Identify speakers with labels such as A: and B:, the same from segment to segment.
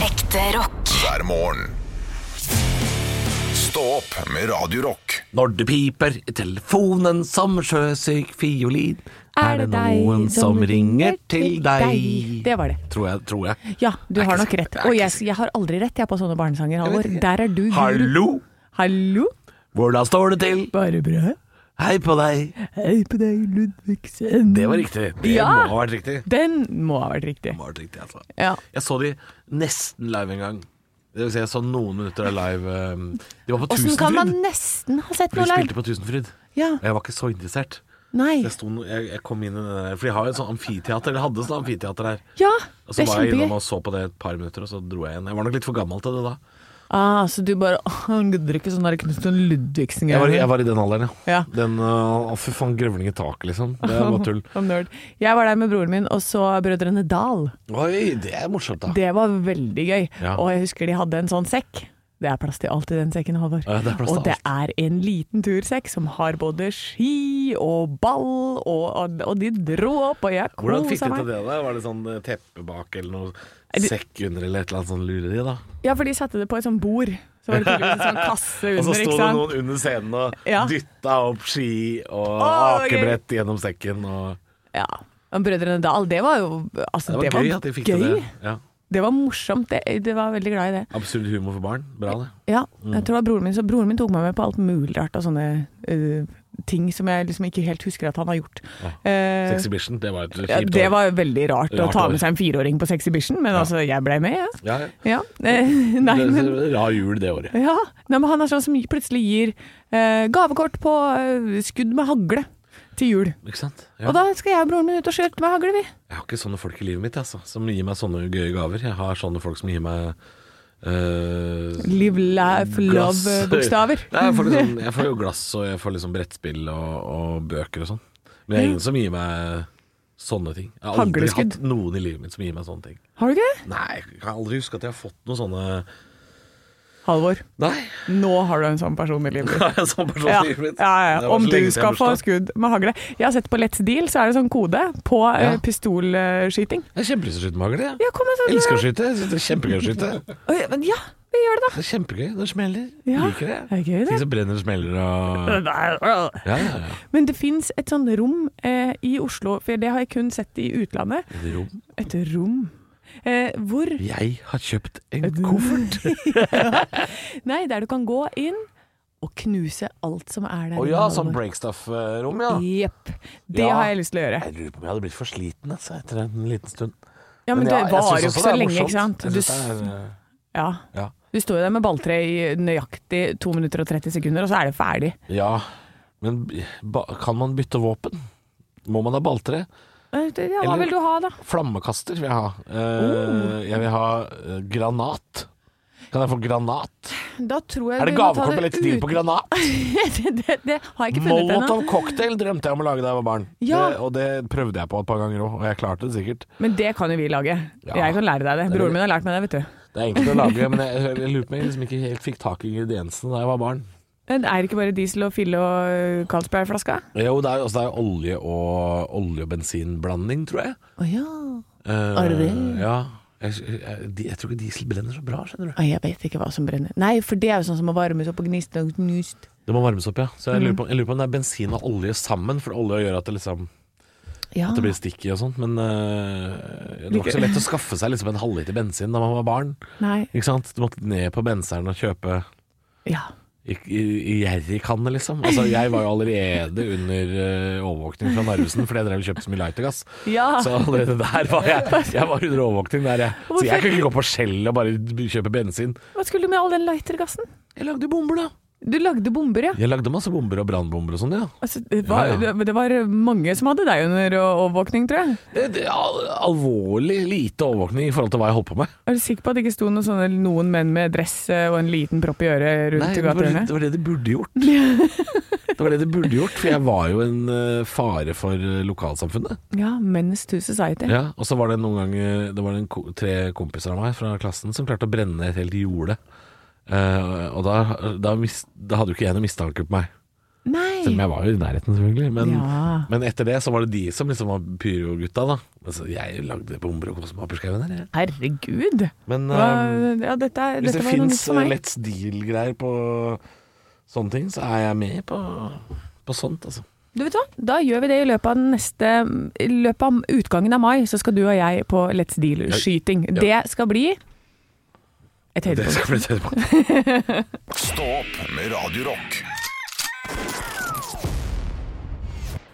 A: Ekte rock.
B: hver morgen. Stå opp med Radio Rock.
C: Når det piper i telefonen som sjøsyk fiolin, er det
D: deg
C: noen som ringer til deg.
D: Det var det.
C: Tror jeg. tror jeg.
D: Ja, du
C: Er
D: har
C: ikke
D: nok
C: så-
D: rett.
C: er
D: Og
C: ikke
D: jeg, jeg har aldri rett jeg på sånne barnesanger, Halvor. Der er du guru.
C: Hallo,
D: Hallo?
C: hvordan står det til?
D: Bare bra.
C: Hei på deg.
D: Hei på deg, Ludvigsen.
C: Det var riktig. Det
D: Ja.
C: må ha vært riktig.
D: Den må ha vært riktig.
C: Det må ha vært riktig altså.
D: Ja.
C: Jeg så de nesten live en gang. Det vil si, jeg så noen minutter av live. um, De var på
D: Åssen kan man
C: Tusenfryd.
D: nesten ha sett
C: Vi
D: noe
C: spilte
D: live?
C: på Tusenfryd.
D: Ja.
C: Og jeg var ikke så interessert.
D: Nei.
C: Jeg, sto, no- jeg, jeg kom inn i den der, for de har jo et sånt amfiteater. Eller hadde sånn amfiteater her.
D: Ja,
C: Og
D: det
C: så
D: er
C: var jeg innom
D: kjempegøy.
C: og så på det et par minutter, og så dro jeg igjen. Jeg var nok litt for gammel til det da.
D: Ah, så du bare åh, Han gidder ikke sånn der Knutsen Ludvigsen-greier.
C: Jeg var, jeg var i den alderen, ja.
D: Ja.
C: Den øh, Å, fy faen, grevling i taket, liksom. Det er bare tull.
D: Som nerd. Jeg var der med broren min og så Brødrene Dal.
C: Oi, det er morsomt, da.
D: Det var veldig gøy.
C: Ja.
D: Og jeg husker de hadde en sånn sekk. Det er plass til alt i den sekken, Halvor.
C: Ja, det er plass til
D: og det er en liten tursekk som har både ski og ball, og, og, og de dro opp, og jeg
C: Hvordan fikk du
D: kosa
C: til
D: meg.
C: det? da? Var det sånn eh, teppe bak, eller noe
D: du-
C: sekk under, eller et eller annet sånn lureri, da?
D: Ja, for de satte det på et sånt bord. Så var det tydeligvis en sånn kasse
C: Og så
D: under,
C: sto
D: ikke
C: det
D: sant.
C: noen under scenen og
D: Ja.
C: dytta opp ski og
D: Å, det var gøy.
C: akebrett gjennom sekken og
D: Ja. Men Brødrene Dal, det var jo altså,
C: Det var gøy at de fikk til
D: gøy.
C: det. Ja.
D: Det var morsomt. Det, det var veldig glad i det.
C: Absurd humor for barn. Bra, det.
D: Ja, jeg tror det var broren min. Så broren min tok meg med på alt mulig rart av sånne eh, ting som jeg liksom ikke helt husker at han har gjort. Eh,
C: Sexhibition, det var et Ah. kjipt
D: ja, det var jo veldig rart, å
C: Rart
D: ta
C: år.
D: med seg en fireåring på Sexhibition, men altså, jeg ble med, jeg.
C: Ja, ja.
D: Ja. Eh, nei,
C: Det-
D: men,
C: det- Rar jul det året.
D: ja. nei, men han er sånn som plutselig gir eh, gavekort på eh, skudd med hagle til jul.
C: Ikke sant? Ja.
D: Og da skal jeg og broren min ut og skyte med hagle, vi.
C: Jeg har ikke sånne folk i livet mitt altså, som gir meg sånne gøye gaver. Jeg har sånne folk som gir meg øh,
D: Live, laugh,
C: glass.
D: love-bokstaver.
C: Nei, jeg, får liksom, jeg får jo glass og jeg får liksom brettspill og, og bøker og sånn. Men det er ingen som gir meg sånne ting. Jeg har aldri
D: Hagleskudd.
C: hatt noen i livet mitt som gir meg sånne ting.
D: Har du ikke det?
C: Nei, jeg kan aldri huske at jeg har fått noen sånne
D: Halvor,
C: Nei,
D: nå har du en sånn person i livet.
C: jeg er en sånn person
D: Ja,
C: i livet mitt.
D: ja,
C: Det
D: ja.
C: var
D: Om
C: så lenge
D: du
C: siden
D: skal
C: jeg
D: få
C: bursdag.
D: skudd med hagle. Jeg har sett på Let's Deal, så er det sånn kode på eh,
C: Ja.
D: pistolskyting.
C: Jeg har kjempelyst til å skyte med hagle. jeg.
D: Ja, kom igjen, så-
C: Elsker å skyte. Jeg synes Det er kjempegøy å skyte.
D: Oi, men ja, vi gjør det, da.
C: Det er kjempegøy. Det smeller.
D: Ja,
C: Liker det.
D: det er gøy, det.
C: Ting som brenner og smeller og ja, ja, ja.
D: Men det fins et sånn rom eh, i Oslo, for det har jeg kun sett i utlandet.
C: Et rom.
D: Et rom eh, hvor
C: Jeg har kjøpt en koffert.
D: Nei, der du kan gå inn og knuse alt som er der.
C: Å ja, sånn breakstuff-rom, ja.
D: Jepp. Det
C: Ja.
D: har jeg lyst til å gjøre.
C: Jeg lurer på om jeg hadde blitt for sliten altså, etter en liten stund.
D: Ja, Men, det
C: ja, jeg synes
D: varer jo
C: også
D: ikke
C: det
D: så
C: er
D: lenge,
C: morsomt.
D: ikke sant?
C: Jeg
D: Du,
C: synes
D: s-
C: det er, eh,
D: ja.
C: ja.
D: du står jo der med balltre i nøyaktig 2 minutter og 30 sekunder, og så er det ferdig.
C: eh, ja, men b- ba, kan man bytte våpen? Må man ha balltre?
D: Eh, det- Ja, hva
C: Eller-
D: vil du ha, da?
C: Flammekaster vil jeg ha. Eh, Jeg vil ha eh, granat. Kan jeg få granat?
D: Da tror jeg
C: Er det
D: vi må ta
C: gavekort på Let's
D: ut-
C: Deal på granat?
D: det, det, det har jeg ikke funnet ennå.
C: Molotov cocktail drømte jeg om å lage da jeg var barn.
D: Ja.
C: Det, og det prøvde jeg på et par ganger òg, og jeg klarte det sikkert.
D: Men det kan jo vi lage.
C: Ja.
D: Jeg kan lære deg det.
C: Det er vel-
D: Broren min har lært meg det, vet du.
C: Det er enkelt å lage, men jeg, jeg lurer på om jeg liksom ikke helt fikk tak i ingrediensene da jeg var barn.
D: Men Er det ikke bare diesel og fille og øh, Carlsbergflaska?
C: Jo, det er jo også det er jo olje og olje- og bensinblanding, tror jeg.
D: Å ja.
C: Eh, Ja. Jeg, jeg, de- jeg tror ikke diesel brenner så bra, skjønner du.
D: Jeg vet ikke hva som brenner. Nei, for det er jo sånn som å varmes opp og gniste og gnust.
C: Det må varmes opp, ja. Så jeg lurer, på, jeg lurer på om det er bensin og olje sammen, for olje gjør at det liksom
D: Ja.
C: at det blir stikk i og sånt. Men eh, det var ikke så lett å skaffe seg liksom en halvliter bensin da man var barn.
D: Nei.
C: Ikke sant? Du måtte ned på benseren og kjøpe
D: Ja.
C: i, i, i jerrykanne, liksom. Altså, jeg var jo allerede under eh, overvåkning fra Narvesen, fordi jeg drev og kjøpte så mye lightergass.
D: Ja.
C: Så allerede der var jeg Jeg var under overvåkning der, jeg. Så jeg kunne ikke gå på Shell og bare kjøpe bensin.
D: Hva skulle du med all den lightergassen?
C: Jeg lagde bomber, da.
D: Du lagde bomber, ja.
C: Jeg lagde masse bomber og brannbomber og sånn, ja.
D: Altså, det, var,
C: Ja, ja.
D: Det, det var mange som hadde deg under øh, overvåkning, tror jeg.
C: Det, det er al Alvorlig lite overvåkning i forhold til hva jeg holdt på med.
D: Er du sikker på at det ikke sto noen, sånne, noen menn med dress øh, og en liten propp i øret rundt
C: det,
D: i
C: var,
D: gatehjørnet?
C: det var det de burde gjort. Det var det de burde gjort, for jeg var jo en eh, fare for eh, lokalsamfunnet.
D: Ja, Men's to Society.
C: Ja, og så var det noen ganger Det var en, ko- tre kompiser av meg fra klassen som klarte å brenne et helt jorde. Eh, og da, da, mis, da hadde jo ikke jeg noe mistanke på meg.
D: Nei.
C: Selv om
D: Nei!
C: jeg var jo i nærheten, selvfølgelig. Men,
D: Ja.
C: men etter det så var det de som liksom var pyrogutta, da. Altså, jeg lagde bomber og kosmaperskauen der, jeg.
D: Herregud!
C: Men eh,
D: Hva, ja, dette, er-
C: hvis det
D: dette
C: eh,
D: var noe
C: fins
D: nytt for meg.
C: Let's Deal-greier på sånne ting, så er jeg med på, på sånt, altså.
D: Du vet hva? Da gjør vi det i løpet av, den neste, i løpet av utgangen av mai, så skal du og jeg på Let's Deal-skyting.
C: Ja.
D: Det skal bli et
C: Det
D: høydepunkt.
C: skal bli tett på.
B: Stå opp med Radio Rock.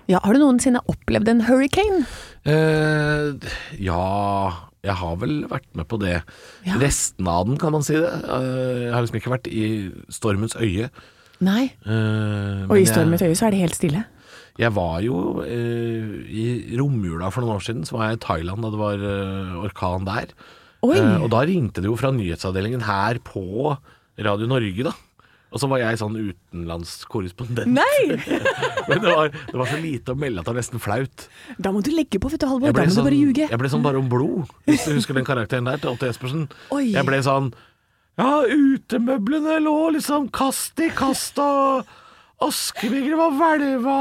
D: Ja, har du noensinne opplevd en hurricane?
C: Eh, ja Jeg har vel vært med på det.
D: Ja.
C: Restene av den, kan man si det. Eh, jeg har liksom ikke vært i stormens øye.
D: Nei.
C: Eh,
D: Og
C: men
D: i stormens
C: jeg,
D: øye så er det helt stille.
C: jeg var jo eh, i romjula for noen år siden, så var jeg i Thailand da det var eh, orkan der.
D: Oi!
C: Eh, og da ringte det jo fra nyhetsavdelingen her på Radio Norge, da. Og så var jeg sånn utenlandskorrespondent.
D: Nei!
C: Men det var, det var så lite å melde at det var nesten flaut.
D: Da må du legge på, vet du, Halvor.
C: Jeg
D: Da
C: ble,
D: må du
C: sånn,
D: bare ljuge.
C: jeg ble sånn bare om blod, hvis du husker den karakteren der til Otto Jespersen.
D: Oi.
C: Jeg ble sånn Ja, utemøblene lå liksom kast i kast, og askebegeret var hvelva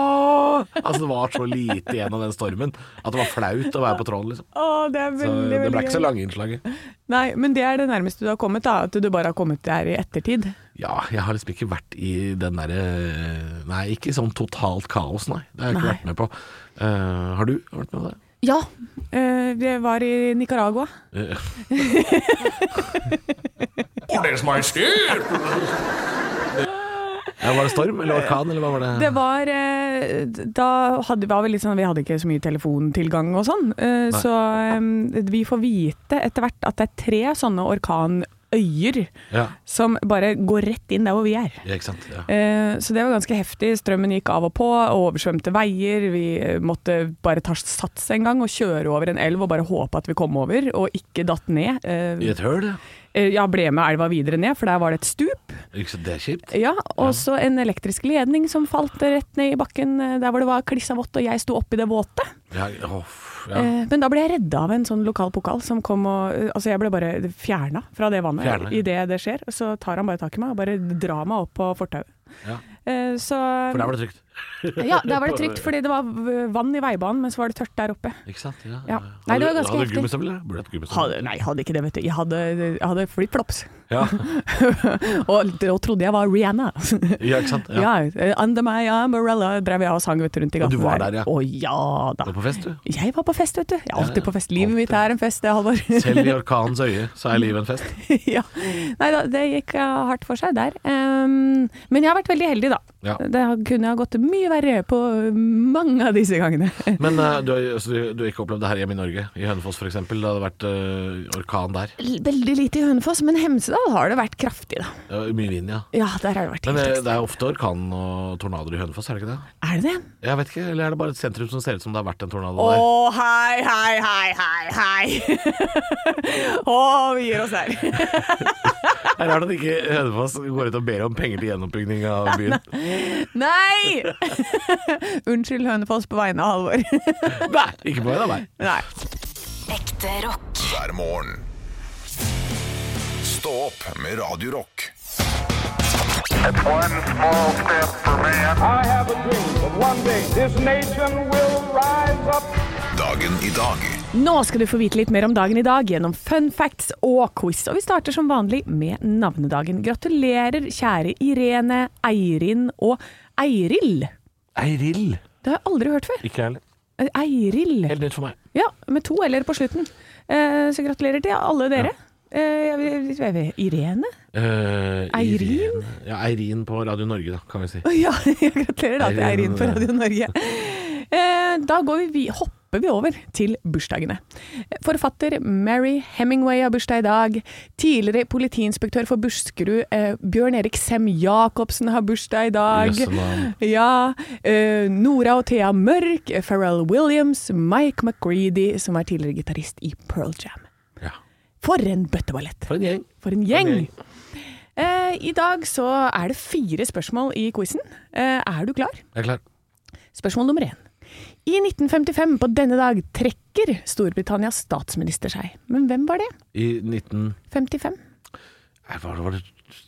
C: og Altså, det var så lite igjen av den stormen at det var flaut å være på tråden, liksom.
D: Å, det er
C: Så
D: veldig,
C: det
D: veldig
C: ble ikke så
D: gøy.
C: lange innslaget.
D: Nei, men det er det nærmeste du har kommet, da. At du bare har kommet der i ettertid.
C: Ja, jeg har liksom ikke vært i den derre Nei, ikke sånn totalt kaos, nei. Det har jeg ikke
D: Nei.
C: vært med på. Eh, har du vært med på det?
D: Ja. Eh, jeg var i Nicaragua.
C: Eh,
B: Orders Majester!
C: ja, var det storm eller orkan, eller hva var det?
D: Det var eh, Da hadde, var vi litt sånn Vi hadde ikke så mye telefontilgang og sånn. eh,
C: Nei.
D: Så eh, vi får vite etter hvert at det er tre sånne orkanøyer
C: Ja,
D: som bare går rett inn der hvor vi er.
C: ja, ikke sant. Ja.
D: Eh, Så det var ganske heftig. Strømmen gikk av og på, og oversvømte veier. Vi eh, måtte bare ta sats en gang og kjøre over en elv og bare håpe at vi kom over, og ikke datt ned. Eh,
C: I et høl, ja.
D: eh, Ja, ble med elva videre ned, for der var det et stup.
C: Ikke sant, det er kjipt.
D: Ja, Og så en elektrisk ledning som falt rett ned i bakken eh, der hvor det var klissa vått, og jeg sto oppi det våte.
C: Ja, åff, ja.
D: Eh, Men da ble jeg redda av en sånn lokal pokal som kom og eh, Altså, jeg ble bare fjerna fra det vannet
C: Fjernet, ja.
D: idet det skjer. Så tar han bare tak i meg og bare drar meg opp på fortauet.
C: ja.
D: Eh, Så
C: For der var det trygt.
D: Ja, der var det trygt, fordi det var v- vann i veibanen, men så var det tørt der oppe.
C: Ikke sant?
D: Ja. Nei, det var ganske
C: Hadde
D: heftig.
C: du gummistøvler? Burde hatt gummistøvler.
D: Hadde, nei, hadde ikke det, vet du. Jeg hadde, jeg hadde flipflops.
C: Ja.
D: og da trodde jeg var Rihanna.
C: ja, ikke sant? Ja.
D: ja. eh, Under my umbrella drev jeg og sang vet, du, rundt i
C: Og
D: gaten.
C: du var der, ja.
D: Å ja da.
C: Du var på fest, du.
D: Jeg var på fest, vet du. Jeg er alltid
C: Ja, ja.
D: på fest. Livet mitt er en fest, det, Halvor.
C: Selv i orkanens øye, så er livet en fest.
D: ja. Nei da, det gikk eh, hardt for seg der. Ehm, men jeg har vært veldig heldig, da.
C: Ja.
D: Det har- kunne ha gått mye verre på mange av disse gangene.
C: Men eh, du, har- så du, du har ikke opplevd det her hjemme i Norge? I Hønefoss f.eks.? Det hadde vært eh, orkan der.
D: Veldig lite i Hønefoss, men Hemsedal har det vært kraftig, da.
C: Ja, mye vind, ja.
D: Ja, der har det vært
C: Men eh,
D: helt
C: det er ofte orkan og tornadoer i Hønefoss, er det ikke det?
D: Er det det?
C: Jeg vet ikke, Eller er det bare et sentrum som ser ut som det har vært en tornado
D: Å,
C: der?
D: hei, hei, hei, hei, hei. Å, vi gir oss der.
C: Det er rart at ikke Hønefoss går ut og ber om penger til gjenoppbygging av byen.
D: Nei! Unnskyld Hønefoss på vegne av Halvor.
C: Nei, ikke på vegne av meg.
D: Nei.
A: Ekte rock.
B: Hver morgen. Stå opp med Radio Rock.
E: It's one small step for man.
F: I have a dream that one day this nation will rise up.
B: Dagen i dag.
D: Nå skal du få vite litt mer om dagen i dag gjennom fun facts og quiz. Og vi starter som vanlig med navnedagen. Gratulerer, kjære Irene, Eirin og Eiril.
C: Eiril.
D: Det har jeg aldri hørt før. Eh,
C: Ikke jeg heller.
D: Eiril.
C: Helt nytt for meg.
D: Ja, med to eller på slutten. Eh, så gratulerer til alle dere. Eh, jeg vet- jeg vet- Irene?
C: Eh,
D: Eirin?
C: Irene- Ja, Eirin på Radio Norge, da, kan vi si.
D: Å Ja, jeg gratulerer da til
C: Eirin,
D: Eirin på Radio Norge. Eh, da går vi, vi, hopper vi over til bursdagene. Forfatter Mary Hemingway har bursdag i dag. Tidligere politiinspektør for Buskerud eh, Bjørn Erik Sem-Jacobsen har bursdag i dag.
C: Jøsse navn.
D: Ja, eh, Nora og Thea Mørk, Pharrell Williams, Mike McReady, som er tidligere gitarist i Pearl Jam.
C: Ja.
D: For en bøtteballett!
C: For en gjeng.
D: For en gjeng!
C: en gjeng.
D: Eh, I dag så er det fire spørsmål i quizen. Eh, er du klar?
C: Jeg er klar.
D: Spørsmål nummer én. I 1955 på denne dag trekker Storbritannias statsminister seg. Men hvem var det?
C: I 19...
D: 55?
C: Nei, Var det, var det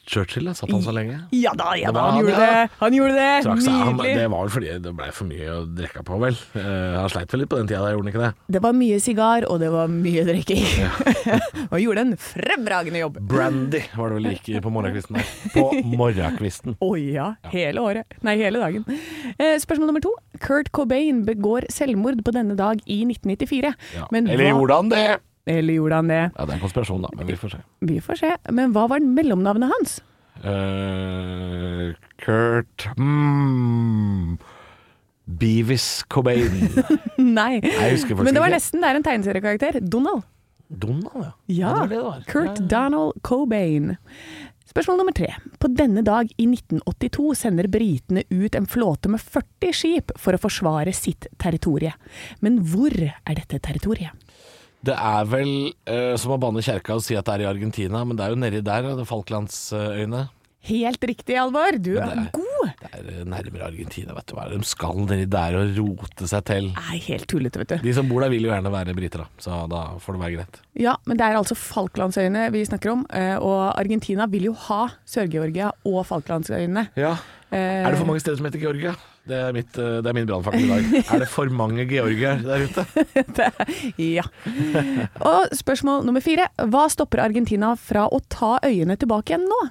C: Churchill jeg satt han så lenge?
D: Ja da, ja
C: Det
D: da,
C: var
D: han
C: han,
D: gjorde
C: ja.
D: det! Han gjorde det!
C: Trakk seg. Han,
D: Nydelig!
C: det var vel fordi det blei for mye å drikke på, vel. Eh, han sleit vel litt på den tida, der, gjorde han ikke det?
D: Det var mye sigar, og det var mye drikking. og gjorde en fremragende jobb.
C: Brandy var det vel like på morgenkvisten der. På morgenkvisten.
D: Å ja, hele året. Nei, hele dagen. Eh, spørsmål nummer to. Kurt Cobain begår selvmord på denne dag i 1994.
C: Ja.
D: Men
C: Eller
D: hva-
C: gjorde han det?
D: Eller gjorde han det?
C: Ja, det er en konspirasjon, da, men vi får se.
D: Vi får se. Men hva var mellomnavnet hans?
C: Eh, Kurt mm, Beavis Cobain.
D: Nei.
C: jeg husker faktisk
D: Men det var
C: ikke.
D: nesten der en tegneseriekarakter. Donald.
C: Donald,
D: Ja,
C: det var det det var.
D: Kurt Donald Cobain. Spørsmål nummer tre. På denne dag i 1982 sender britene ut en flåte med 40 skip for å forsvare sitt territorie. Men hvor er dette territoriet?
C: Det er vel eh, som å banne kjerka og si at det er i Argentina, men det er jo nedi der, ja, det er Falklandsøyene.
D: Helt riktig, Alvor. Du er
C: Men det er-
D: god!
C: Det er eh, nærmere Argentina, vet du hva. De skal nedi der og rote seg til.
D: Nei, helt tullete, vet du.
C: De som bor der, vil jo gjerne være briter, da, så da får det være greit.
D: Ja, men det er altså Falklandsøyene vi snakker om. eh, Og Argentina vil jo ha Sør-Georgia og Falklandsøyene.
C: Er det for mange steder som heter Georgia? Det er, mitt, eh, det er min brannfakkel i dag. Er det for mange georgier der ute?
D: Ja. Og spørsmål nummer fire. Hva stopper Argentina fra å ta øyene tilbake igjen nå?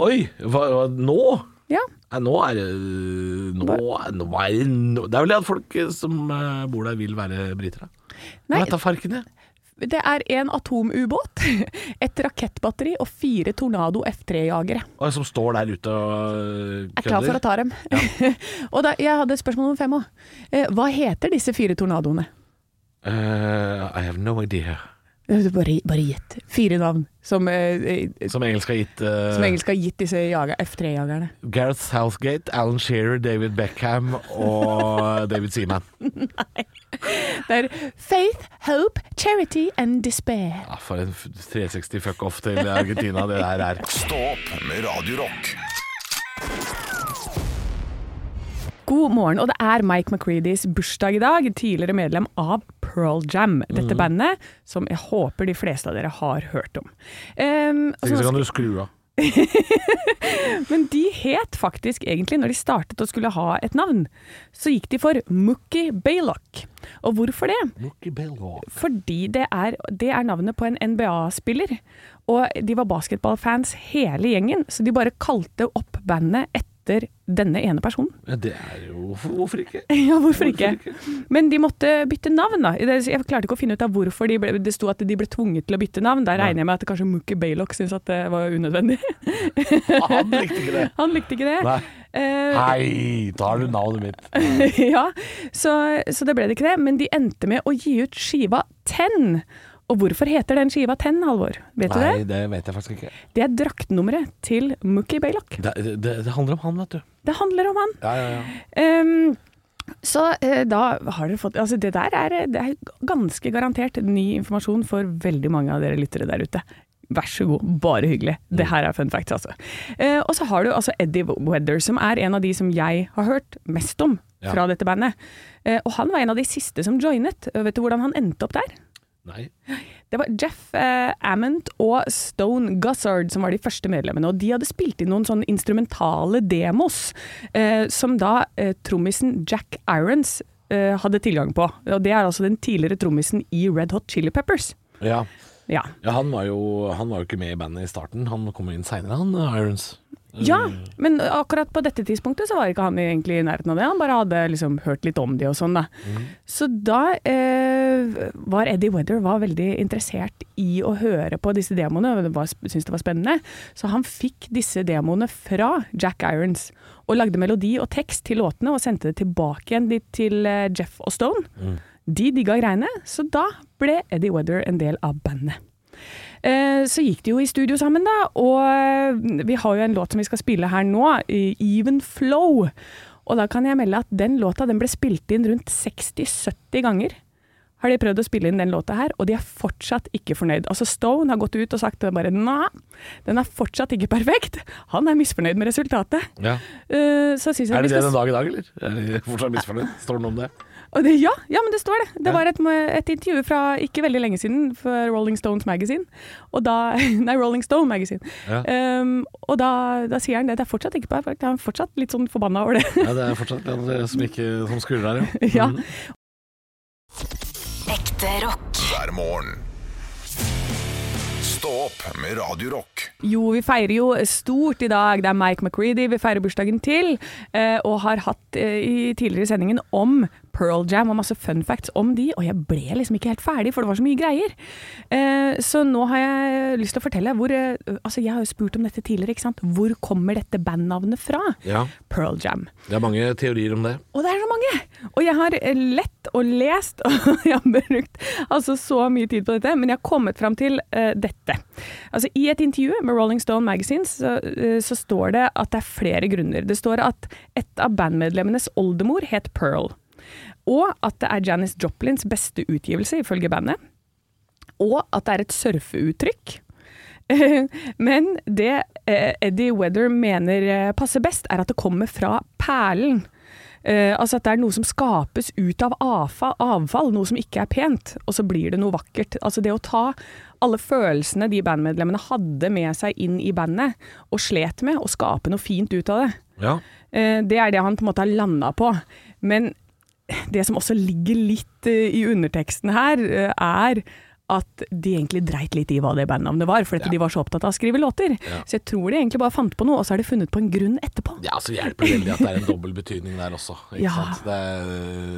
C: Oi, hva, hva, nå?
D: Ja.
C: Nei, nå er det nå, nå er det, nå. det er vel det at folk eh, som eh, bor der, vil være briter, da.
D: Nei.
C: Nei. Vet da farken, jeg.
D: Det er en atomubåt, et rakettbatteri og fire Tornado F3-jagere.
C: Og Som står der ute og
D: Er klar for å ta dem. og da, jeg hadde spørsmål nummer fem òg. Eh, hva heter disse fire tornadoene?
C: Eh, I have no idea.
D: Eh, Bare, bare gitt. Fire navn som, eh, eh,
C: Som engelsk har gitt eh,
D: som engelsk har gitt disse jager, F3-jagerne.
C: Gareth Southgate, Alan Shearer, David Beckham og David Seaman.
D: Det er Faith, Hope, Charity and Despair.
C: Ja, for en f- 360 fuck off til Argentina det der er.
B: Stå opp med Radio Rock.
D: God morgen, og det er Mike McCreadys bursdag i dag. Tidligere medlem av Pearl Jam, dette bandet som jeg håper de fleste av dere har hørt om. Ehm, og så-
C: Ikke så kan du skru av.
D: men de het faktisk egentlig, når de startet og skulle ha et navn, så gikk de for Mookie Baylock. Og hvorfor det? Fordi det er, det er navnet på en NBA-spiller. Og de var basketballfans hele gjengen, så de bare kalte opp bandet etter denne ene personen.
C: Ja, Det er jo Hvorfor ikke?
D: Ja, hvorfor ikke? Men de måtte bytte navn, da. Det- Jeg klarte ikke å finne ut av hvorfor de ble, det sto at de ble tvunget til å bytte navn. Der regner jeg med at kanskje Mookie Baylock syntes at det var unødvendig.
C: Han likte ikke det.
D: Han likte ikke det.
C: Nei.
D: Eh,
C: Hei, tar du navnet mitt?
D: ja, så, så det ble det ikke det. Men de endte med å gi ut skiva Ten. Og hvorfor heter den skiva Ten, Halvor? Vet du det?
C: det vet jeg faktisk ikke.
D: Det er draktnummeret til Mookie Baylock.
C: Det, det, det handler om han, vet du.
D: Det handler om han.
C: Ja, ja, ja.
D: Ehm, så eh, da har dere fått Altså, det der er, det er ganske garantert ny informasjon for veldig mange av dere lyttere der ute. Vær så god, bare hyggelig. Det her er fun facts, altså. Eh, og så har du altså Eddie Weather, som er en av de som jeg har hørt mest om
C: Ja.
D: fra dette bandet. Eh, og han var en av de siste som joinet. Eh, Vet du hvordan han endte opp der?
C: Nei.
D: Det var Jeff eh, Ament og Stone Gussard som var de første medlemmene. Og de hadde spilt inn noen sånne instrumentale demos eh, som da eh, trommisen Jack Irons eh, hadde tilgang på. Og det er altså den tidligere trommisen i Red Hot Chili Peppers.
C: Ja.
D: Ja.
C: ja han, var jo, han var jo ikke med i bandet i starten. Han kom inn seinere, han eh, Irons.
D: ja, men akkurat på dette tidspunktet så var ikke han egentlig i nærheten av det. Han bare hadde liksom hørt litt om de og sånn, da. Så da eh, var Eddie Weather var veldig interessert i å høre på disse demoene, og det var- syntes det var spennende. Så han fikk disse demoene fra Jack Irons, og lagde melodi og tekst til låtene, og sendte det tilbake igjen dit til eh, Jeff og Stone. De digga greiene, så da ble Eddie Weather en del av bandet. Eh, Så gikk de jo i studio sammen, da. Og eh, vi har jo en låt som vi skal spille her nå, i Even Flow. Og da kan jeg melde at den låta den ble spilt inn rundt 60-70 ganger. Har de prøvd å spille inn den låta her, og de er fortsatt ikke fornøyd. Altså Stone har gått ut og sagt det bare nei, den er fortsatt ikke perfekt. Han er misfornøyd med resultatet.
C: Ja.
D: Eh, Så syns jeg
C: Er
D: vi
C: det det
D: skal
C: den dag i dag, eller? Er de fortsatt misfornøyd? Står det noe om det?
D: Og det, ja, ja, men det står det. Det var et, et intervju fra ikke veldig lenge siden for Rolling Stones Magazine. Og da, nei, Rolling Stone Magazine.
C: Ja.
D: Um, og da, da sier han det. Det er fortsatt ikke perfekt. Han er fortsatt litt sånn forbanna over det.
C: Ja, det er fortsatt en eh, som, ikke, som skurrer her, Mm. jo.
D: ja.
A: Ekte rock.
B: hver morgen. Stå opp med Radio Rock.
D: Jo, vi feirer jo stort i dag. Det er Mike McReady vi feirer bursdagen til. eh, Og har hatt eh, i tidligere i sendingen om Pearl Jam og masse fun facts om de. Og jeg ble liksom ikke helt ferdig, for det var så mye greier. Eh, Så nå har jeg lyst til å fortelle hvor eh, Altså, jeg har jo spurt om dette tidligere, ikke sant. Hvor kommer dette bandnavnet fra?
C: Ja.
D: Pearl Jam.
C: Det er mange teorier om det.
D: Og det er så mange! Og jeg har eh, lett og lest, og jeg har brukt altså så mye tid på dette, men jeg har kommet fram til eh, dette. Altså, I et intervju med Rolling Stone Magazine så, eh, så står det at det er flere grunner. Det står at et av bandmedlemmenes oldemor het Pearl, og at det er Janis Joplins beste utgivelse, ifølge bandet, og at det er et surfeuttrykk. Men det eh, Eddie Weather mener eh, passer best, er at det kommer fra perlen. Eh, altså at det er noe som skapes ut av avfall, avfall, noe som ikke er pent, og så blir det noe vakkert. Altså det å ta alle følelsene de bandmedlemmene hadde med seg inn i bandet, og slet med, og skape noe fint ut av det.
C: Ja.
D: Eh, Det er det han på en måte har landa på. Men det som også ligger litt eh, i underteksten her, eh, er at de egentlig dreit litt i hva det bandnavnet var, fordi at de var så opptatt av å skrive låter. Så jeg tror de egentlig bare fant på noe, og så har de funnet på en grunn etterpå.
C: Ja, så hjelper det veldig at det er en dobbel betydning der også. Ikke,
D: Ja.
C: sant? Det er,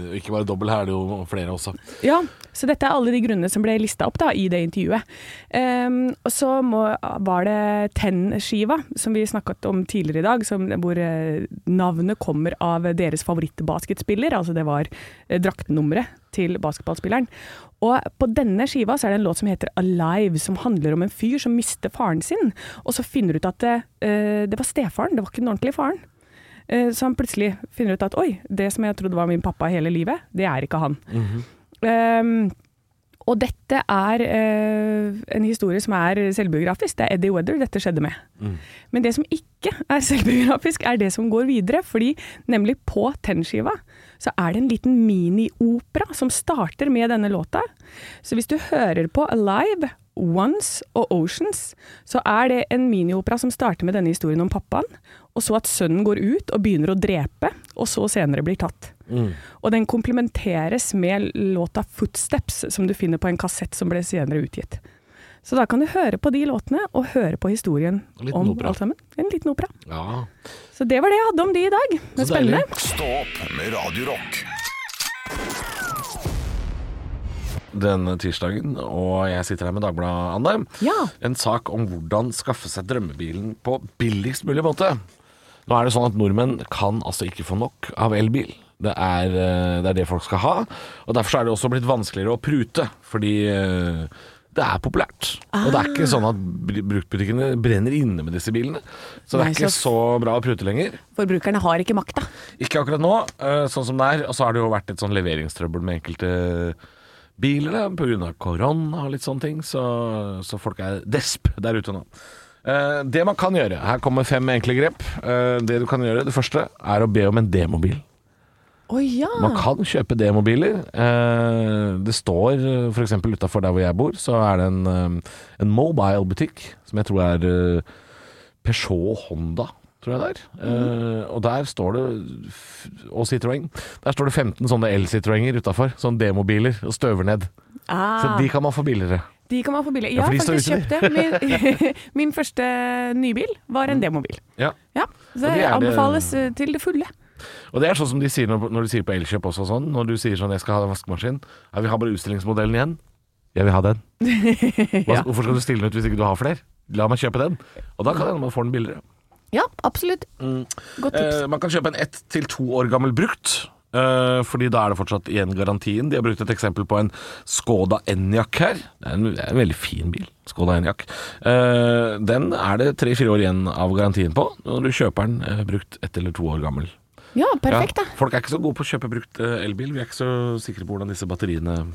C: og ikke bare dobbel, her er det jo flere også.
D: Ja, så dette er alle de grunnene som ble lista opp da, i det intervjuet. Ehm, og så må, var det Ten-skiva, som vi snakket om tidligere i dag, som, hvor eh, navnet kommer av deres favorittbasketspiller, altså det var eh, draktnummeret til basketballspilleren. Og på denne skiva så er det en låt som heter Alive, som handler om en fyr som mister faren sin, og så finner ut at eh, det var stefaren, det var ikke den ordentlige faren. Eh, Så han plutselig finner ut at oi, det som jeg trodde var min pappa hele livet, det er ikke han. Ehm, og dette er eh, en historie som er selvbiografisk. Det er Eddie Weather dette skjedde med. Men det som ikke er selvbiografisk, er det som går videre. Fordi nemlig på Ten-skiva så er det en liten mini-opera som starter med denne låta. Så hvis du hører på Alive, Once og Oceans, så er det en miniopera som starter med denne historien om pappaen, og så at sønnen går ut og begynner å drepe, og så senere blir tatt.
C: Mm.
D: Og den komplementeres med låta 'Footsteps', som du finner på en kassett som ble senere utgitt. Så da kan du høre på de låtene, og høre på historien
C: En liten
D: om
C: opera.
D: alt sammen. En liten opera.
C: Ja.
D: Så det var det jeg hadde om de i dag. Det er
C: Så deilig.
D: spennende.
B: Stå opp med Radio Rock
C: Denne tirsdagen, og jeg sitter her med Dagbladet, Anne.
D: Ja.
C: En sak om hvordan skaffe seg drømmebilen på billigst mulig måte. Nå er det sånn at nordmenn kan altså ikke få nok av elbil. Det er, eh, det er det folk skal ha, og derfor så er det også blitt vanskeligere å prute, fordi eh, det er populært. Og det er
D: Ah.
C: ikke sånn at br- bruktbutikkene brenner inne med disse bilene. Så det
D: Nei,
C: er ikke
D: så-
C: så bra å prute lenger.
D: Forbrukerne har ikke makta.
C: Ikke akkurat nå, eh, sånn som det er. Og så har det jo vært litt sånn leveringstrøbbel med enkelte biler pga. korona og litt sånne ting. Så, så folk er desp der ute nå. Eh, Det man kan gjøre Her kommer fem enkle grep. Eh, Det du kan gjøre, det første, er å be om en demobil.
D: Å ja.
C: Man kan kjøpe demobiler. Eh, Det står f.eks. utafor der hvor jeg bor, så er det en, eh, en mobile-butikk som jeg tror er eh, Peugeot Honda, tror jeg det er. Eh, og der står det f- Og Citroën. Der står det 15 sånne el-Citroënger utafor. Sånne demobiler og støver ned. Så
D: Ah.
C: de kan man få billigere.
D: De kan man få billig.
C: Ja,
D: Jeg har
C: for de
D: faktisk
C: står
D: kjøpt det. Min, min første nybil var en demobil.
C: Mm. Ja.
D: Ja, så
C: Og det
D: det
C: er det-
D: anbefales eh, til det fulle.
C: Og det er sånn som de sier når, når de sier på Elkjøp også og sånn. Når du sier sånn 'jeg skal ha en vaskemaskin', ja, vi har bare utstillingsmodellen igjen. Jeg vil ha den. Hva,
D: Ja.
C: Hvorfor skal du stille den ut hvis ikke du har flere? La meg kjøpe den. Og da kan det hende man får den billigere.
D: Ja, absolutt. Godt tips.
C: Eh, man kan kjøpe en ett til to år gammel brukt. eh, fordi da er det fortsatt igjen garantien. De har brukt et eksempel på en Skoda Enyaq her. Det er en, det er en veldig fin bil, Skoda Enyaq. Eh, den er det tre-fire år igjen av garantien på når du kjøper den eh, brukt ett eller to år gammel.
D: Ja, perfekt,
C: Ja,
D: da.
C: folk er ikke så gode på å kjøpe brukt eh, elbil. Vi er ikke så sikre på hvordan disse batteriene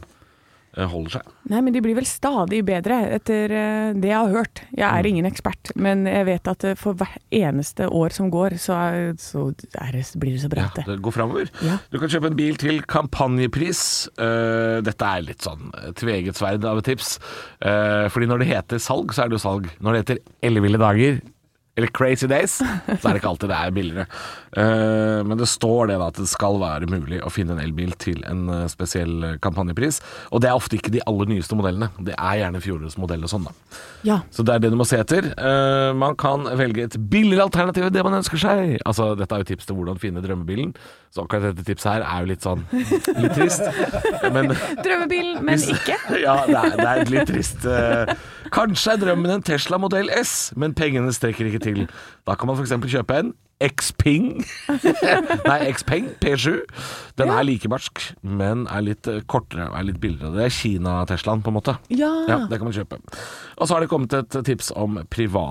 C: eh, holder seg.
D: Nei, men de blir vel stadig bedre etter eh, det jeg har hørt. Jeg
C: Mm.
D: er ingen ekspert, men jeg vet at eh, for hvert eneste år som går, så, er, så er det, blir det så bra.
C: Ja,
D: at det.
C: det går framover.
D: Ja.
C: Du kan kjøpe en bil til kampanjepris. Eh, dette er litt sånn eh, tveget sverd av et tips. Eh, fordi når det heter salg, så er det jo salg. Når det heter elleville dager eller crazy days, så er det ikke alltid det er billigere. Eh, men det står det da at det skal være mulig å finne en elbil til en eh, spesiell eh, kampanjepris. Og det er ofte ikke de aller nyeste modellene. Det er gjerne fjorårets modell og sånn, da.
D: Ja.
C: Så det er det du må se etter. Eh, man kan velge et billigere alternativ enn det man ønsker seg. Altså, Dette er jo tips til hvordan finne drømmebilen. Så akkurat dette tipset her er jo litt sånn litt trist. Men
D: Drømmebilen, men ikke.
C: ja, det er, det er litt trist. Eh, Kanskje er drømmen en Tesla modell S, men pengene strekker ikke til. Da kan man f.eks. kjøpe en Xping Nei, Xpeng P7. Den er like barsk, men er litt eh, kortere og er litt billigere. Det er Kina-Teslaen, på en måte.
D: Ja.
C: Ja, det kan man kjøpe. Og så har det kommet et tips om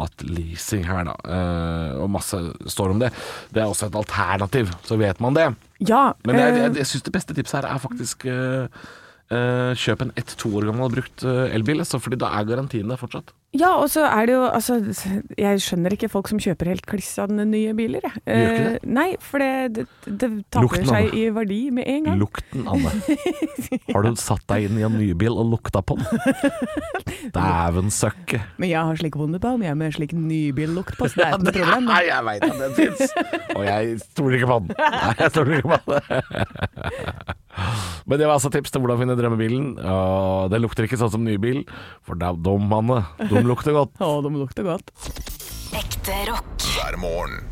C: privatleasing her, da. Eh, og masse står om det. Det er også et alternativ, så vet man det.
D: Ja,
C: Men jeg,
D: eh,
C: jeg, jeg syns det beste tipset her er faktisk eh, eh, kjøp en ett-to år gammel brukt eh, elbil, altså, fordi da er garantien der fortsatt.
D: ja, og så er det jo altså, Jeg skjønner ikke folk som kjøper helt klissende nye biler. Jeg. Eh,
C: Gjør ikke det?
D: nei, for det, det, det taper
C: Lukten av
D: seg
C: det.
D: i verdi med en gang.
C: Lukten, Anne. Har du satt deg inn i en nybil og lukta på den? Dæven søkke.
D: Men jeg har slik vondebaum, jeg med slik nybillukt på, så det er ikke noe problem.
C: Nei, jeg veit at den fins! Og jeg stoler ikke på den. Nei, jeg stoler ikke på den. Men det var altså tips til hvordan finne drømmebilen. Og den lukter ikke sånn som nybil, for da- de mannene, de lukter godt.
D: Å, de lukter godt.
A: Ekte rock.
B: hver morgen.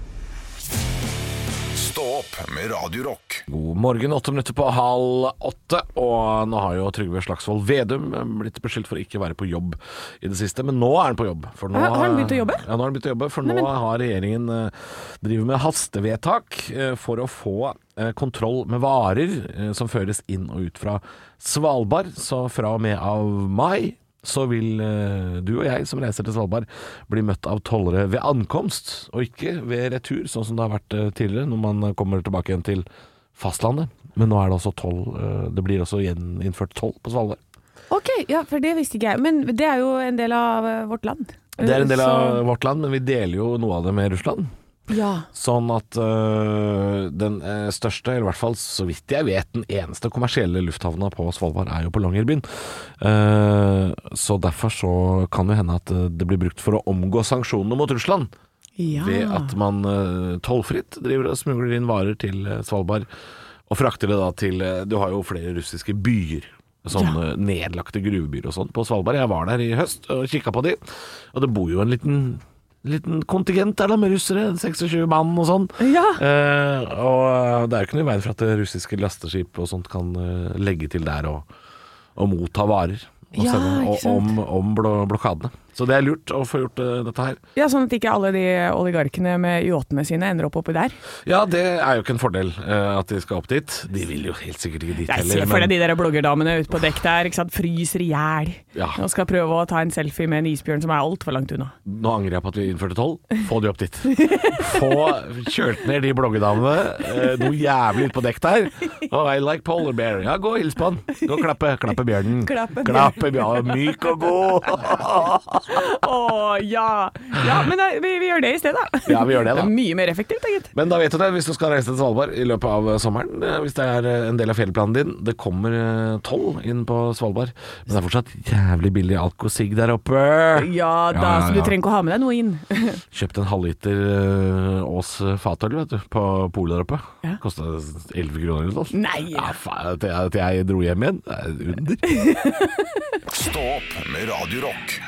B: Stå opp med Radio Rock.
C: God morgen, åtte minutter på halv åtte. Og nå har jo Trygve Slagsvold Vedum blitt beskyldt for ikke å være på jobb i det siste, men nå er han på jobb. For nå,
D: Har- har han begynt å jobbe?
C: Ja, nå har han begynt å jobbe, for nå har regjeringen eh, driver med hastevedtak eh, for å få eh, kontroll med varer eh, som føres inn og ut fra Svalbard. Så fra og med av mai så vil eh, du og jeg som reiser til Svalbard bli møtt av tollere ved ankomst, og ikke ved retur, sånn som det har vært eh, tidligere, når man kommer tilbake igjen til fastlandet. Men nå er det også toll eh, Det blir også gjeninnført toll på Svalbard.
D: Ok, ja, for det visste ikke jeg. Men det er jo en del av eh, vårt land.
C: Det er en del av vårt land, men vi deler jo noe av det med Russland.
D: Så- Ja.
C: Sånn at øh, den øh, største, eller i hvert fall så vidt jeg vet, den eneste kommersielle lufthavna på Svalbard er jo på Longyearbyen. Eh, så derfor så kan det hende at øh, det blir brukt for å omgå sanksjonene mot Russland.
D: ja.
C: Ved at man øh, tollfritt driver og smugler inn varer til øh, Svalbard, og frakter det da til øh, Du har jo flere russiske byer. Sånne nedlagte gruvebyer og sånn på Svalbard. Jeg var der i høst og kikka på de, og det bor jo en liten Liten kontingent der da med russere, 26 mann og sånn.
D: Ja.
C: Eh, og det er jo ikke noe i veien for at det russiske lasteskip og sånt kan eh, legge til der og, og motta varer. Og
D: Ja,
C: sende-
D: ikke
C: og,
D: sant.
C: om, om blo blokadene. Så det er lurt å få gjort eh, dette her.
D: ja, sånn at ikke alle de oligarkene med yachtene sine ender opp oppi der.
C: Ja, det er jo ikke en fordel eh, at de skal opp dit. De vil jo helt sikkert ikke dit
D: Jeg
C: heller.
D: ser for
C: men-
D: deg de der bloggerdamene ute på dekk der, ikke sant. Fryser i hjel.
C: Ja.
D: Og skal prøve å ta en selfie med en isbjørn som er altfor langt unna.
C: Nå angrer jeg på at vi innførte toll. Få de opp dit. Få kjørt ned de bloggedamene eh, noe jævlig ut på dekk der. Oh, I like polar bear. Ja, gå og hils på han. Gå og klappe. Klappe bjørnen.
D: Klappe bjørnen.
C: Klappe bjørnen. Myk og god.
D: Å ja! Ja, men nei, vi, vi gjør det i stedet, da.
C: Ja, vi gjør det, da.
D: er mye mer effektivt, da, gitt.
C: Men da vet du det, hvis du skal reise til Svalbard i løpet av eh, sommeren, eh, hvis det er eh, en del av ferieplanen din, det kommer eh, toll inn på Svalbard, men det er fortsatt jævlig billig alkosigg der oppe.
D: Ja da,
C: ja,
D: så du
C: ja.
D: trenger ikke å ha med deg noe inn.
C: Kjøpte en halvliter eh, Ås fatøl, vet du, på polet der oppe.
D: Ja.
C: Kosta 11 kroner eller noe sånt.
D: Nei.
C: Ja, faen, at jeg, at jeg dro hjem igjen, det er et under.
B: Stå opp med Radio Rock.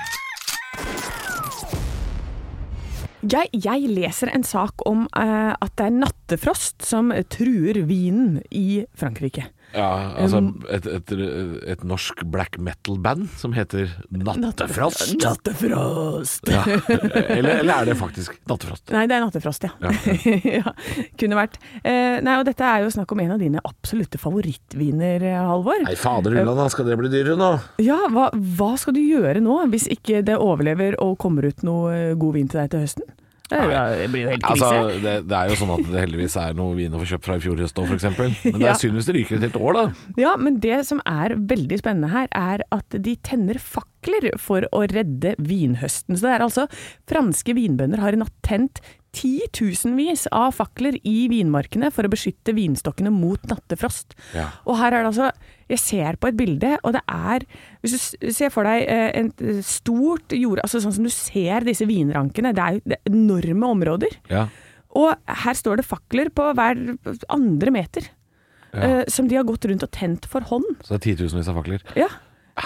D: Jeg, jeg leser en sak om eh, at det er nattefrost som truer vinen i Frankrike.
C: Ja, altså
D: Um,
C: et, et, et norsk black metal-band som heter Nattefrost.
D: Nattefrost!
C: Ja. Eller, eller er det faktisk Nattefrost?
D: Nei, det er nattefrost, ja. ja kunne vært. Eh, nei, og dette er jo snakk om en av dine absolutte favorittviner, eh, Halvor.
C: Nei, fader Ulland, da skal det bli dyrere nå?
D: Ja, hva, hva skal du gjøre nå, hvis ikke det overlever og kommer ut noe eh, god vin til deg til høsten? Det er jo- det blir jo helt krise.
C: Altså, det, det er jo sånn at det heldigvis er noe vin å få kjøpt fra i fjor høst òg, f.eks. Men det
D: Ja.
C: er synd hvis det ryker et helt år, da.
D: Ja, men det som er veldig spennende her, er at de tenner fakler for å redde vinhøsten. Så det er altså franske vinbønder har i natt tent titusenvis av fakler i vinmarkene for å beskytte vinstokkene mot nattefrost.
C: Ja.
D: Og her er det altså Jeg ser på et bilde, og det er Hvis du s- ser for deg eh, et stort jord... Altså sånn som du ser disse vinrankene, det er jo det er enorme områder.
C: Ja.
D: Og her står det fakler på hver andre meter. eh, som de har gått rundt og tent for hånd.
C: Så det er titusenvis av fakler.
D: Ja.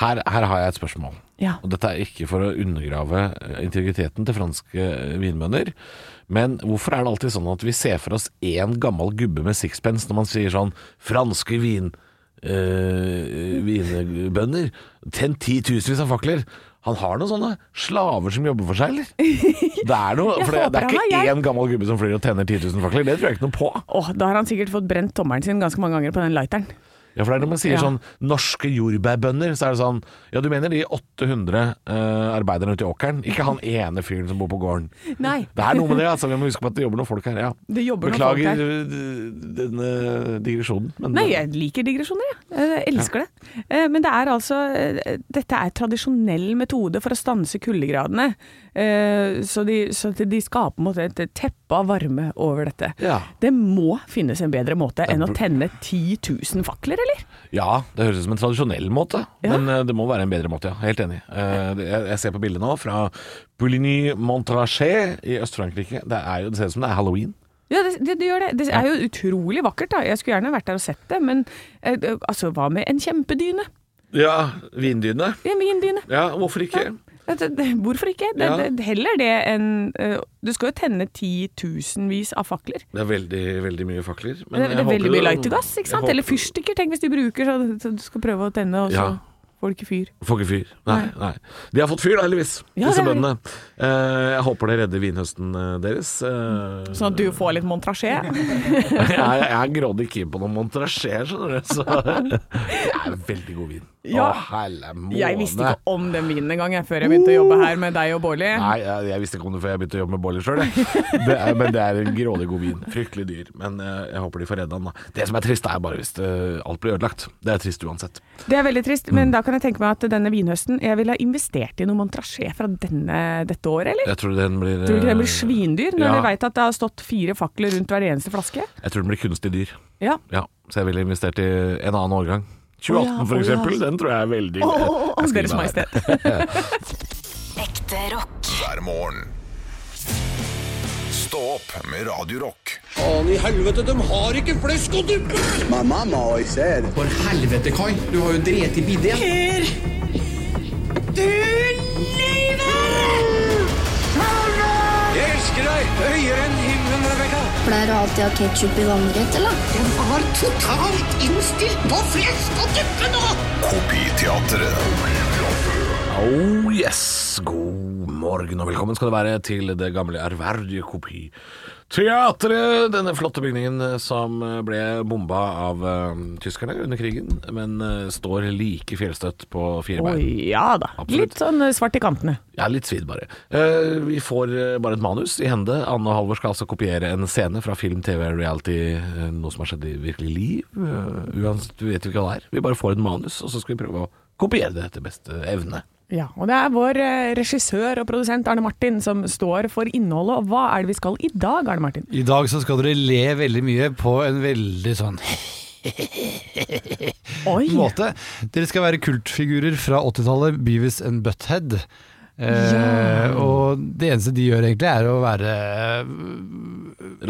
C: Her, her har jeg et spørsmål.
D: Ja.
C: Og dette er ikke for å undergrave eh, integriteten til franske eh, vinbønder. Men hvorfor er det alltid sånn at vi ser for oss én gammel gubbe med sixpence når man sier sånn Franske vin... eh, vinbønder. Tent titusenvis av fakler. Han har noen sånne slaver som jobber for seg, eller? Det er, noe,
D: Jeg
C: for det, det
D: håper
C: er
D: han har
C: ikke
D: hjelp.
C: én gammel gubbe som flyr og tenner 10 000 fakler. Det tror jeg ikke noe på.
D: Åh, da har han sikkert fått brent tommelen sin ganske mange ganger på den lighteren.
C: Ja, for det er når man sier
D: Ja.
C: sånn norske jordbærbønder, så er det sånn Ja, du mener de 800 eh, arbeiderne ute i åkeren, ikke han ene fyren som bor på gården.
D: Nei.
C: Det er noe med det, altså. Vi må huske på at det jobber noen folk her. Ja.
D: Det jobber noen
C: Beklager
D: folk
C: eh, denne digresjonen, men
D: Nei, jeg liker digresjoner, jeg. Eh, Jeg elsker det. Eh, Men det er altså eh, Dette er tradisjonell metode for å stanse kuldegradene. Eh, Så de, så at de skaper mot et teppe av varme over dette.
C: Ja.
D: Det må finnes en bedre måte enn å tenne 10 000 fakler, eller?
C: Ja, det høres ut som en tradisjonell måte,
D: Ja.
C: men eh, det må være en bedre måte, ja. Helt enig. Eh, det- jeg, jeg ser på bildet nå fra Bouligny-Montrachet i Øst-Frankrike. Det, er jo- det ser ut som det er halloween.
D: Ja, det, det, det gjør det. Det er jo utrolig vakkert, da. Jeg skulle gjerne vært der og sett det, men eh, altså, hva med en kjempedyne?
C: Ja, vindyne.
D: En vindyne?
C: Ja, hvorfor ikke?
D: Ja, det- det- Hvorfor ikke? Det,
C: Ja.
D: det, heller det enn eh, Du skal jo tenne titusenvis av fakler.
C: Det er veldig, veldig mye fakler. men
D: Det, det
C: jeg
D: er
C: håper
D: veldig mye
C: det-
D: lightergass, ikke
C: jeg
D: sant?
C: håper-
D: Eller fyrstikker, tenk hvis du bruker så, så du skal prøve å tenne, og så
C: Ja.
D: får du ikke fyr.
C: Får ikke fyr. Nei, nei. De har fått fyr, da, heldigvis,
D: Ja,
C: disse
D: det er-
C: bøndene. Eh, jeg håper det redder vinhøsten eh, deres. Eh,
D: Sånn at du får litt montrachet.
C: jeg, jeg er grådig keen på noe montrachet, skjønner du. Så det er veldig god vin.
D: Ja.
C: Å, helle måne.
D: Jeg visste ikke om den vinen engang jeg, før jeg begynte å jobbe her med deg og Bårli.
C: Nei, jeg, jeg visste ikke om det før jeg begynte å jobbe med boller sjøl. Men det er en grådig god vin. Fryktelig dyr. Men eh, jeg håper de får redda den. da. Det som er trist, er bare hvis eh, alt blir ødelagt. Det er trist uansett.
D: Det er veldig trist,
C: Mm.
D: men da kan jeg tenke meg at denne vinhøsten Jeg ville ha investert i noe montrachet fra denne, dette året, eller?
C: Jeg tror den blir
D: Tror du ikke den blir
C: eh,
D: svindyr, når
C: ja.
D: vi veit at det har stått fire fakler rundt hver eneste flaske?
C: Jeg tror den blir kunstig dyr.
D: Ja.
C: Ja, så jeg ville investert i en annen årgang. 2018
D: Å ja,
C: for
D: å ja.
C: eksempel, den tror jeg er veldig
D: Å, å, å,
C: Jeg skriver
D: Deres
C: meg der.
D: Majestet.
A: Ekte rock.
B: hver morgen. Stå opp med Radio Rock.
G: Faen i helvete, de har ikke flesk og duppe!
H: My mama always said,
G: For helvete, Kai. Du har jo drept i biddet. Jeg elsker deg høyere enn himmelen, Rebekka.
I: Pleier du alltid å ha ketsjup i vannrett, eller?
G: Var totalt innstilt på flesk og duppe nå!
B: Kopiteatret.
C: Oh yes, god morgen og velkommen skal det være til det gamle ærverdige kopi. Teatret, denne flotte bygningen eh, som ble bomba av eh, tyskerne under krigen, men eh, står like fjellstøtt på fire
D: Oi,
C: bein.
D: ja da.
C: Absolutt.
D: Litt sånn eh, svart i kantene.
C: Jeg er litt svidd bare. Eh, vi får eh, bare et manus i hende. Anne og Halvor skal altså kopiere en scene fra film, TV, reality, eh, noe som har skjedd i virkelig liv. Eh, uansett, du vet jo ikke hva det er. Vi bare får et manus, og så skal vi prøve å kopiere det etter beste evne.
D: Ja, og det er vår eh, regissør og produsent Arne Martin som står for innholdet. Og hva er det vi skal i dag, Arne Martin?
J: I dag så skal dere le veldig mye på en veldig sånn
D: Oi!
J: måte. Dere skal være kultfigurer fra 80-tallet, Beavis and Butthead. Eh, Og det eneste de gjør egentlig er å være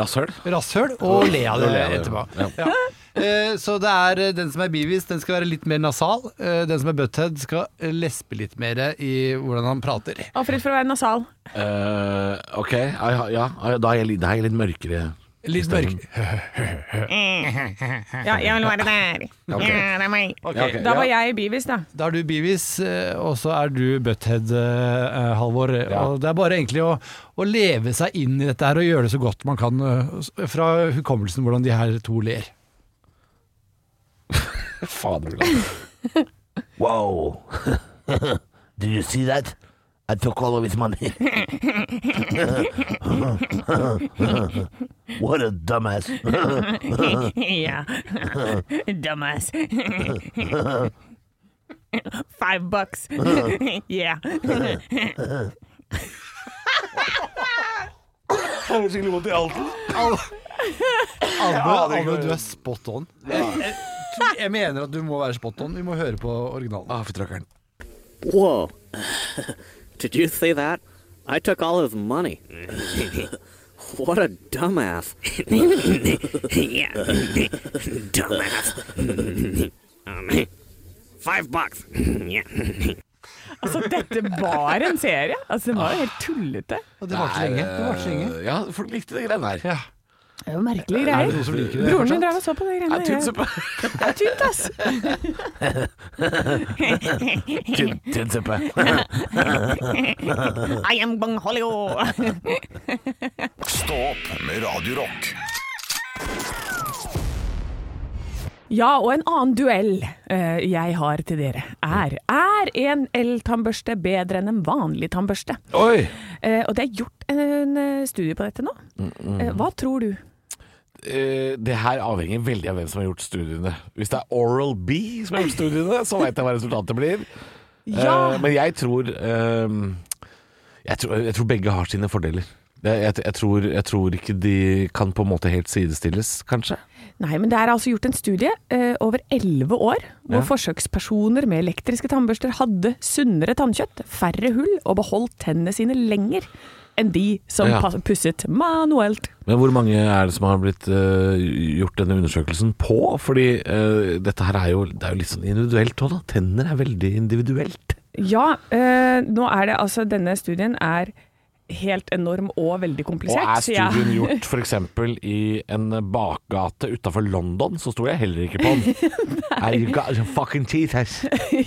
C: Rasshøl.
J: rasshøl og le av det
C: Og le av det,
J: etterpå.
C: ja.
J: Ja. Eh, Så det er eh, den som er Beavis, den skal være litt mer nasal. Eh, Den som er Butthead skal eh, lespe litt mer i hvordan han prater.
D: Og fritt for å være nasal.
C: Eh, ok, ja, ja, ja, da er jeg litt, da er jeg litt mørkere.
J: Litt mørk.
D: Ja, jeg vil være der. Ja, det er meg.
C: Ok,
D: Da var
C: ja.
D: jeg i Beavis, da.
J: Da er du Beavis, eh, og så er du Butthead, eh, eh, Halvor.
C: Ja.
J: Og det er bare egentlig å, å leve seg inn i dette her og gjøre det så godt man kan eh, s- fra hukommelsen hvordan de her to ler.
C: Fader, Olav. wow. Do you see that?
H: I took all of his money. what a dumbass.
D: Yeah. Dumbass. Five bucks. yeah.
J: Alve, Alve, du er spot on. Eh, Jeg, jeg mener at du må være spot on. Vi må høre på originalen.
C: Ah, fytterakker'n.
H: Whoa. Did you see that? I took all his money. what a dumbass. yeah. dumbass. um, five bucks. yeah.
D: Altså, dette var en serie. Altså, den var jo helt tullete.
J: Og det varte lenge. Det varte lenge.
C: Eh, Ja, folk likte de greiene der.
J: Ja.
D: Det er jo merkelige
J: Er det
D: greier.
J: noen som liker det?
D: Broren min drev og så på de greiene.
C: Jeg tynn suppe.
D: Det er tynt, ass.
C: Tynn- Tynn suppe.
D: I am Bang Hollywood.
B: Stå opp med Radio Rock.
D: Ja, og en annen duell eh, jeg har til dere er Er en el-tannbørste bedre enn en vanlig tannbørste?
C: Oi!
D: Eh, og det er gjort en, eh, studie på dette nå.
J: Mm,
D: Eh, hva tror du?
C: Eh, det her avhenger veldig av hvem som har gjort studiene. Hvis det er Oral B som har gjort studiene, så veit jeg hva resultatet blir. Eh,
D: Ja.
C: men jeg tror, eh, jeg tror Jeg tror begge har sine fordeler. Jeg, jeg, jeg, tror, jeg tror ikke de kan på en måte helt sidestilles, kanskje.
D: Nei, men det er altså gjort en studie eh, over 11 år, hvor forsøkspersoner med elektriske tannbørster hadde sunnere tannkjøtt, færre hull og beholdt tennene sine lenger enn de som
C: Ja.
D: pas- pusset manuelt.
C: Men hvor mange er det som har blitt eh, gjort denne undersøkelsen på? Fordi eh, dette her er jo, det er jo litt sånn individuelt òg, da. Tenner er veldig individuelt.
D: Ja, eh, nå er det altså Denne studien er helt enorm og
C: Og
D: veldig komplisert.
C: er
D: så jeg-
C: studien gjort f.eks. i en bakgate utafor London, så sto jeg heller ikke på den. Hey, you got your fucking teeth, yes.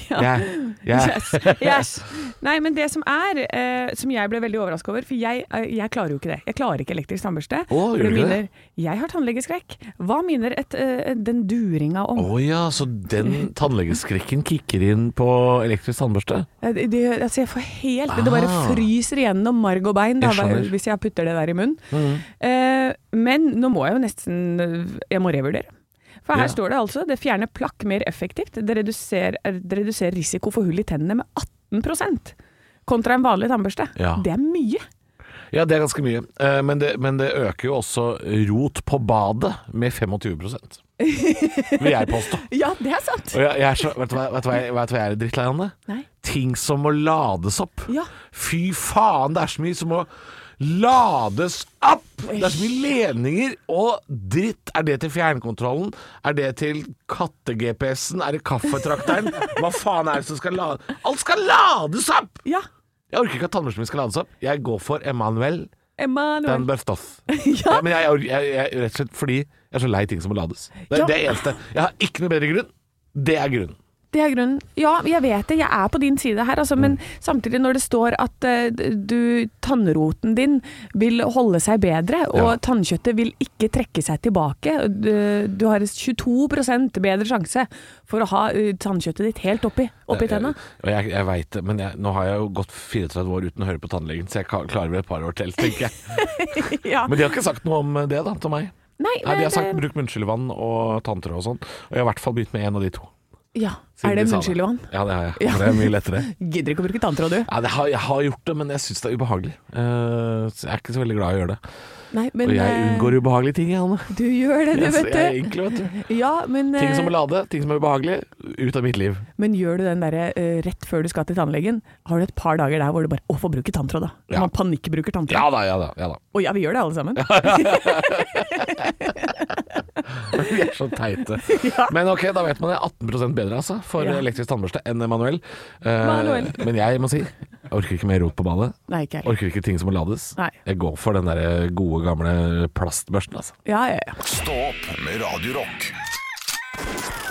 C: Yeah, yeah.
D: Yes, yes. Nei, men det som er, eh, som jeg ble veldig overraska over For jeg, eh, jeg klarer jo ikke det. Jeg klarer ikke elektrisk tannbørste.
C: Å, gjør
D: For
C: du ikke
D: minner- Jeg har tannlegeskrekk. Hva minner et, eh, den duringa om?
C: Å ja, så den tannlegeskrekken kicker inn på elektrisk tannbørste?
D: Eh, Det, det, altså jeg får helt Det bare fryser igjennom marg og bein da,
C: Ah. Jeg skjønner. Mm.
D: hvis jeg putter det der i munnen. Eh, men nå må jeg jo nesten Jeg må revurdere. For her
C: Ja.
D: står det altså det fjerner plakk mer effektivt. Det reduserer, det reduserer risiko for hull i tennene med 18 kontra en vanlig tannbørste.
C: Ja.
D: Det er mye.
C: Ja, det er ganske mye. Eh, Men det, men det øker jo også rot på badet med 25 vil jeg påstå.
D: Ja, det er sant.
C: Og jeg, jeg er så, vet, du hva, vet, du hva, jeg- vet du hva jeg er drittlei av? Anne?
D: Nei.
C: Ting som må lades opp.
D: Ja.
C: Fy faen, det er så mye som må lades opp! Det er så mye ledninger og dritt. Er det til fjernkontrollen? Er det til katte-GPS-en? Er det kaffetrakteren? Hva faen er det som skal lades Alt skal lades opp!
D: Ja.
C: Jeg orker ikke at tannbørsten min skal lades opp. Jeg går for Emanuel den
D: Emanuel.
C: Børstoff. Ja,
D: Ja.
C: men jeg, jeg, jeg, jeg, rett og slett fordi jeg er så lei ting som må lades. Det,
D: Ja.
C: det er eneste. Jeg har ikke noe bedre grunn. Det er grunnen.
D: Det er grunnen. Ja, jeg vet det, jeg er på din side her, altså,
C: Mm.
D: men samtidig når det står at eh, du, tannroten din vil holde seg bedre, og
C: Ja.
D: tannkjøttet vil ikke trekke seg tilbake, du, du har 22 bedre sjanse for å ha eh, tannkjøttet ditt helt oppi, oppi tenna.
C: Og jeg, jeg vet det, men jeg, nå har jeg jo gått 34 år uten å høre på tannlegen, så jeg ka- klarer vel et par år til, tenker jeg.
D: Ja.
C: Men de har ikke sagt noe om det da, til meg.
D: Nei, eh,
C: Nei, De har
D: det-
C: sagt bruk munnskyllevann og tanntråd og sånn. Og jeg har i hvert fall begynt med en av de to.
D: ja.
C: siden
D: Er det
C: de sa
D: munnskyllevann?
C: Ja, det har jeg.
D: Ja.
C: For Det er mye lettere.
D: Gidder ikke å bruke tanntråd, du.
C: Ja, det har, jeg har gjort det, men jeg syns det er ubehagelig. Eh, så jeg er ikke så veldig glad i å gjøre det.
D: Nei, men
C: Og jeg
D: eh,
C: unngår ubehagelige ting, jeg, Anne.
D: Du gjør det, du,
C: Jeg, jeg, er
D: vet
C: enkel, vet du.
D: du. Ja, men
C: Ting som
D: eh,
C: er lade, ting som er ubehagelig, ut av mitt liv.
D: Men gjør du den derre eh, rett før du skal til tannlegen, har du et par dager der hvor du bare Å, få bruke tanntråd, da.
C: Ja.
D: Man panikkbruker tanntråd.
C: Ja da, ja da. ja da
D: Å ja, vi gjør det alle sammen.
C: Vi er så teite.
D: Ja.
C: Men ok, da vet man det. 18 bedre altså for
D: Ja.
C: elektrisk tannbørste enn manuell. Eh,
D: Manuell.
C: men jeg må si, jeg orker ikke mer rot på badet.
D: Nei, ikke heller.
C: Orker ikke ting som må lades.
D: Nei.
C: Jeg går for den der gode, gamle plastbørsten, altså.
D: Ja, ja, ja.
B: Stå opp med Radio Rock.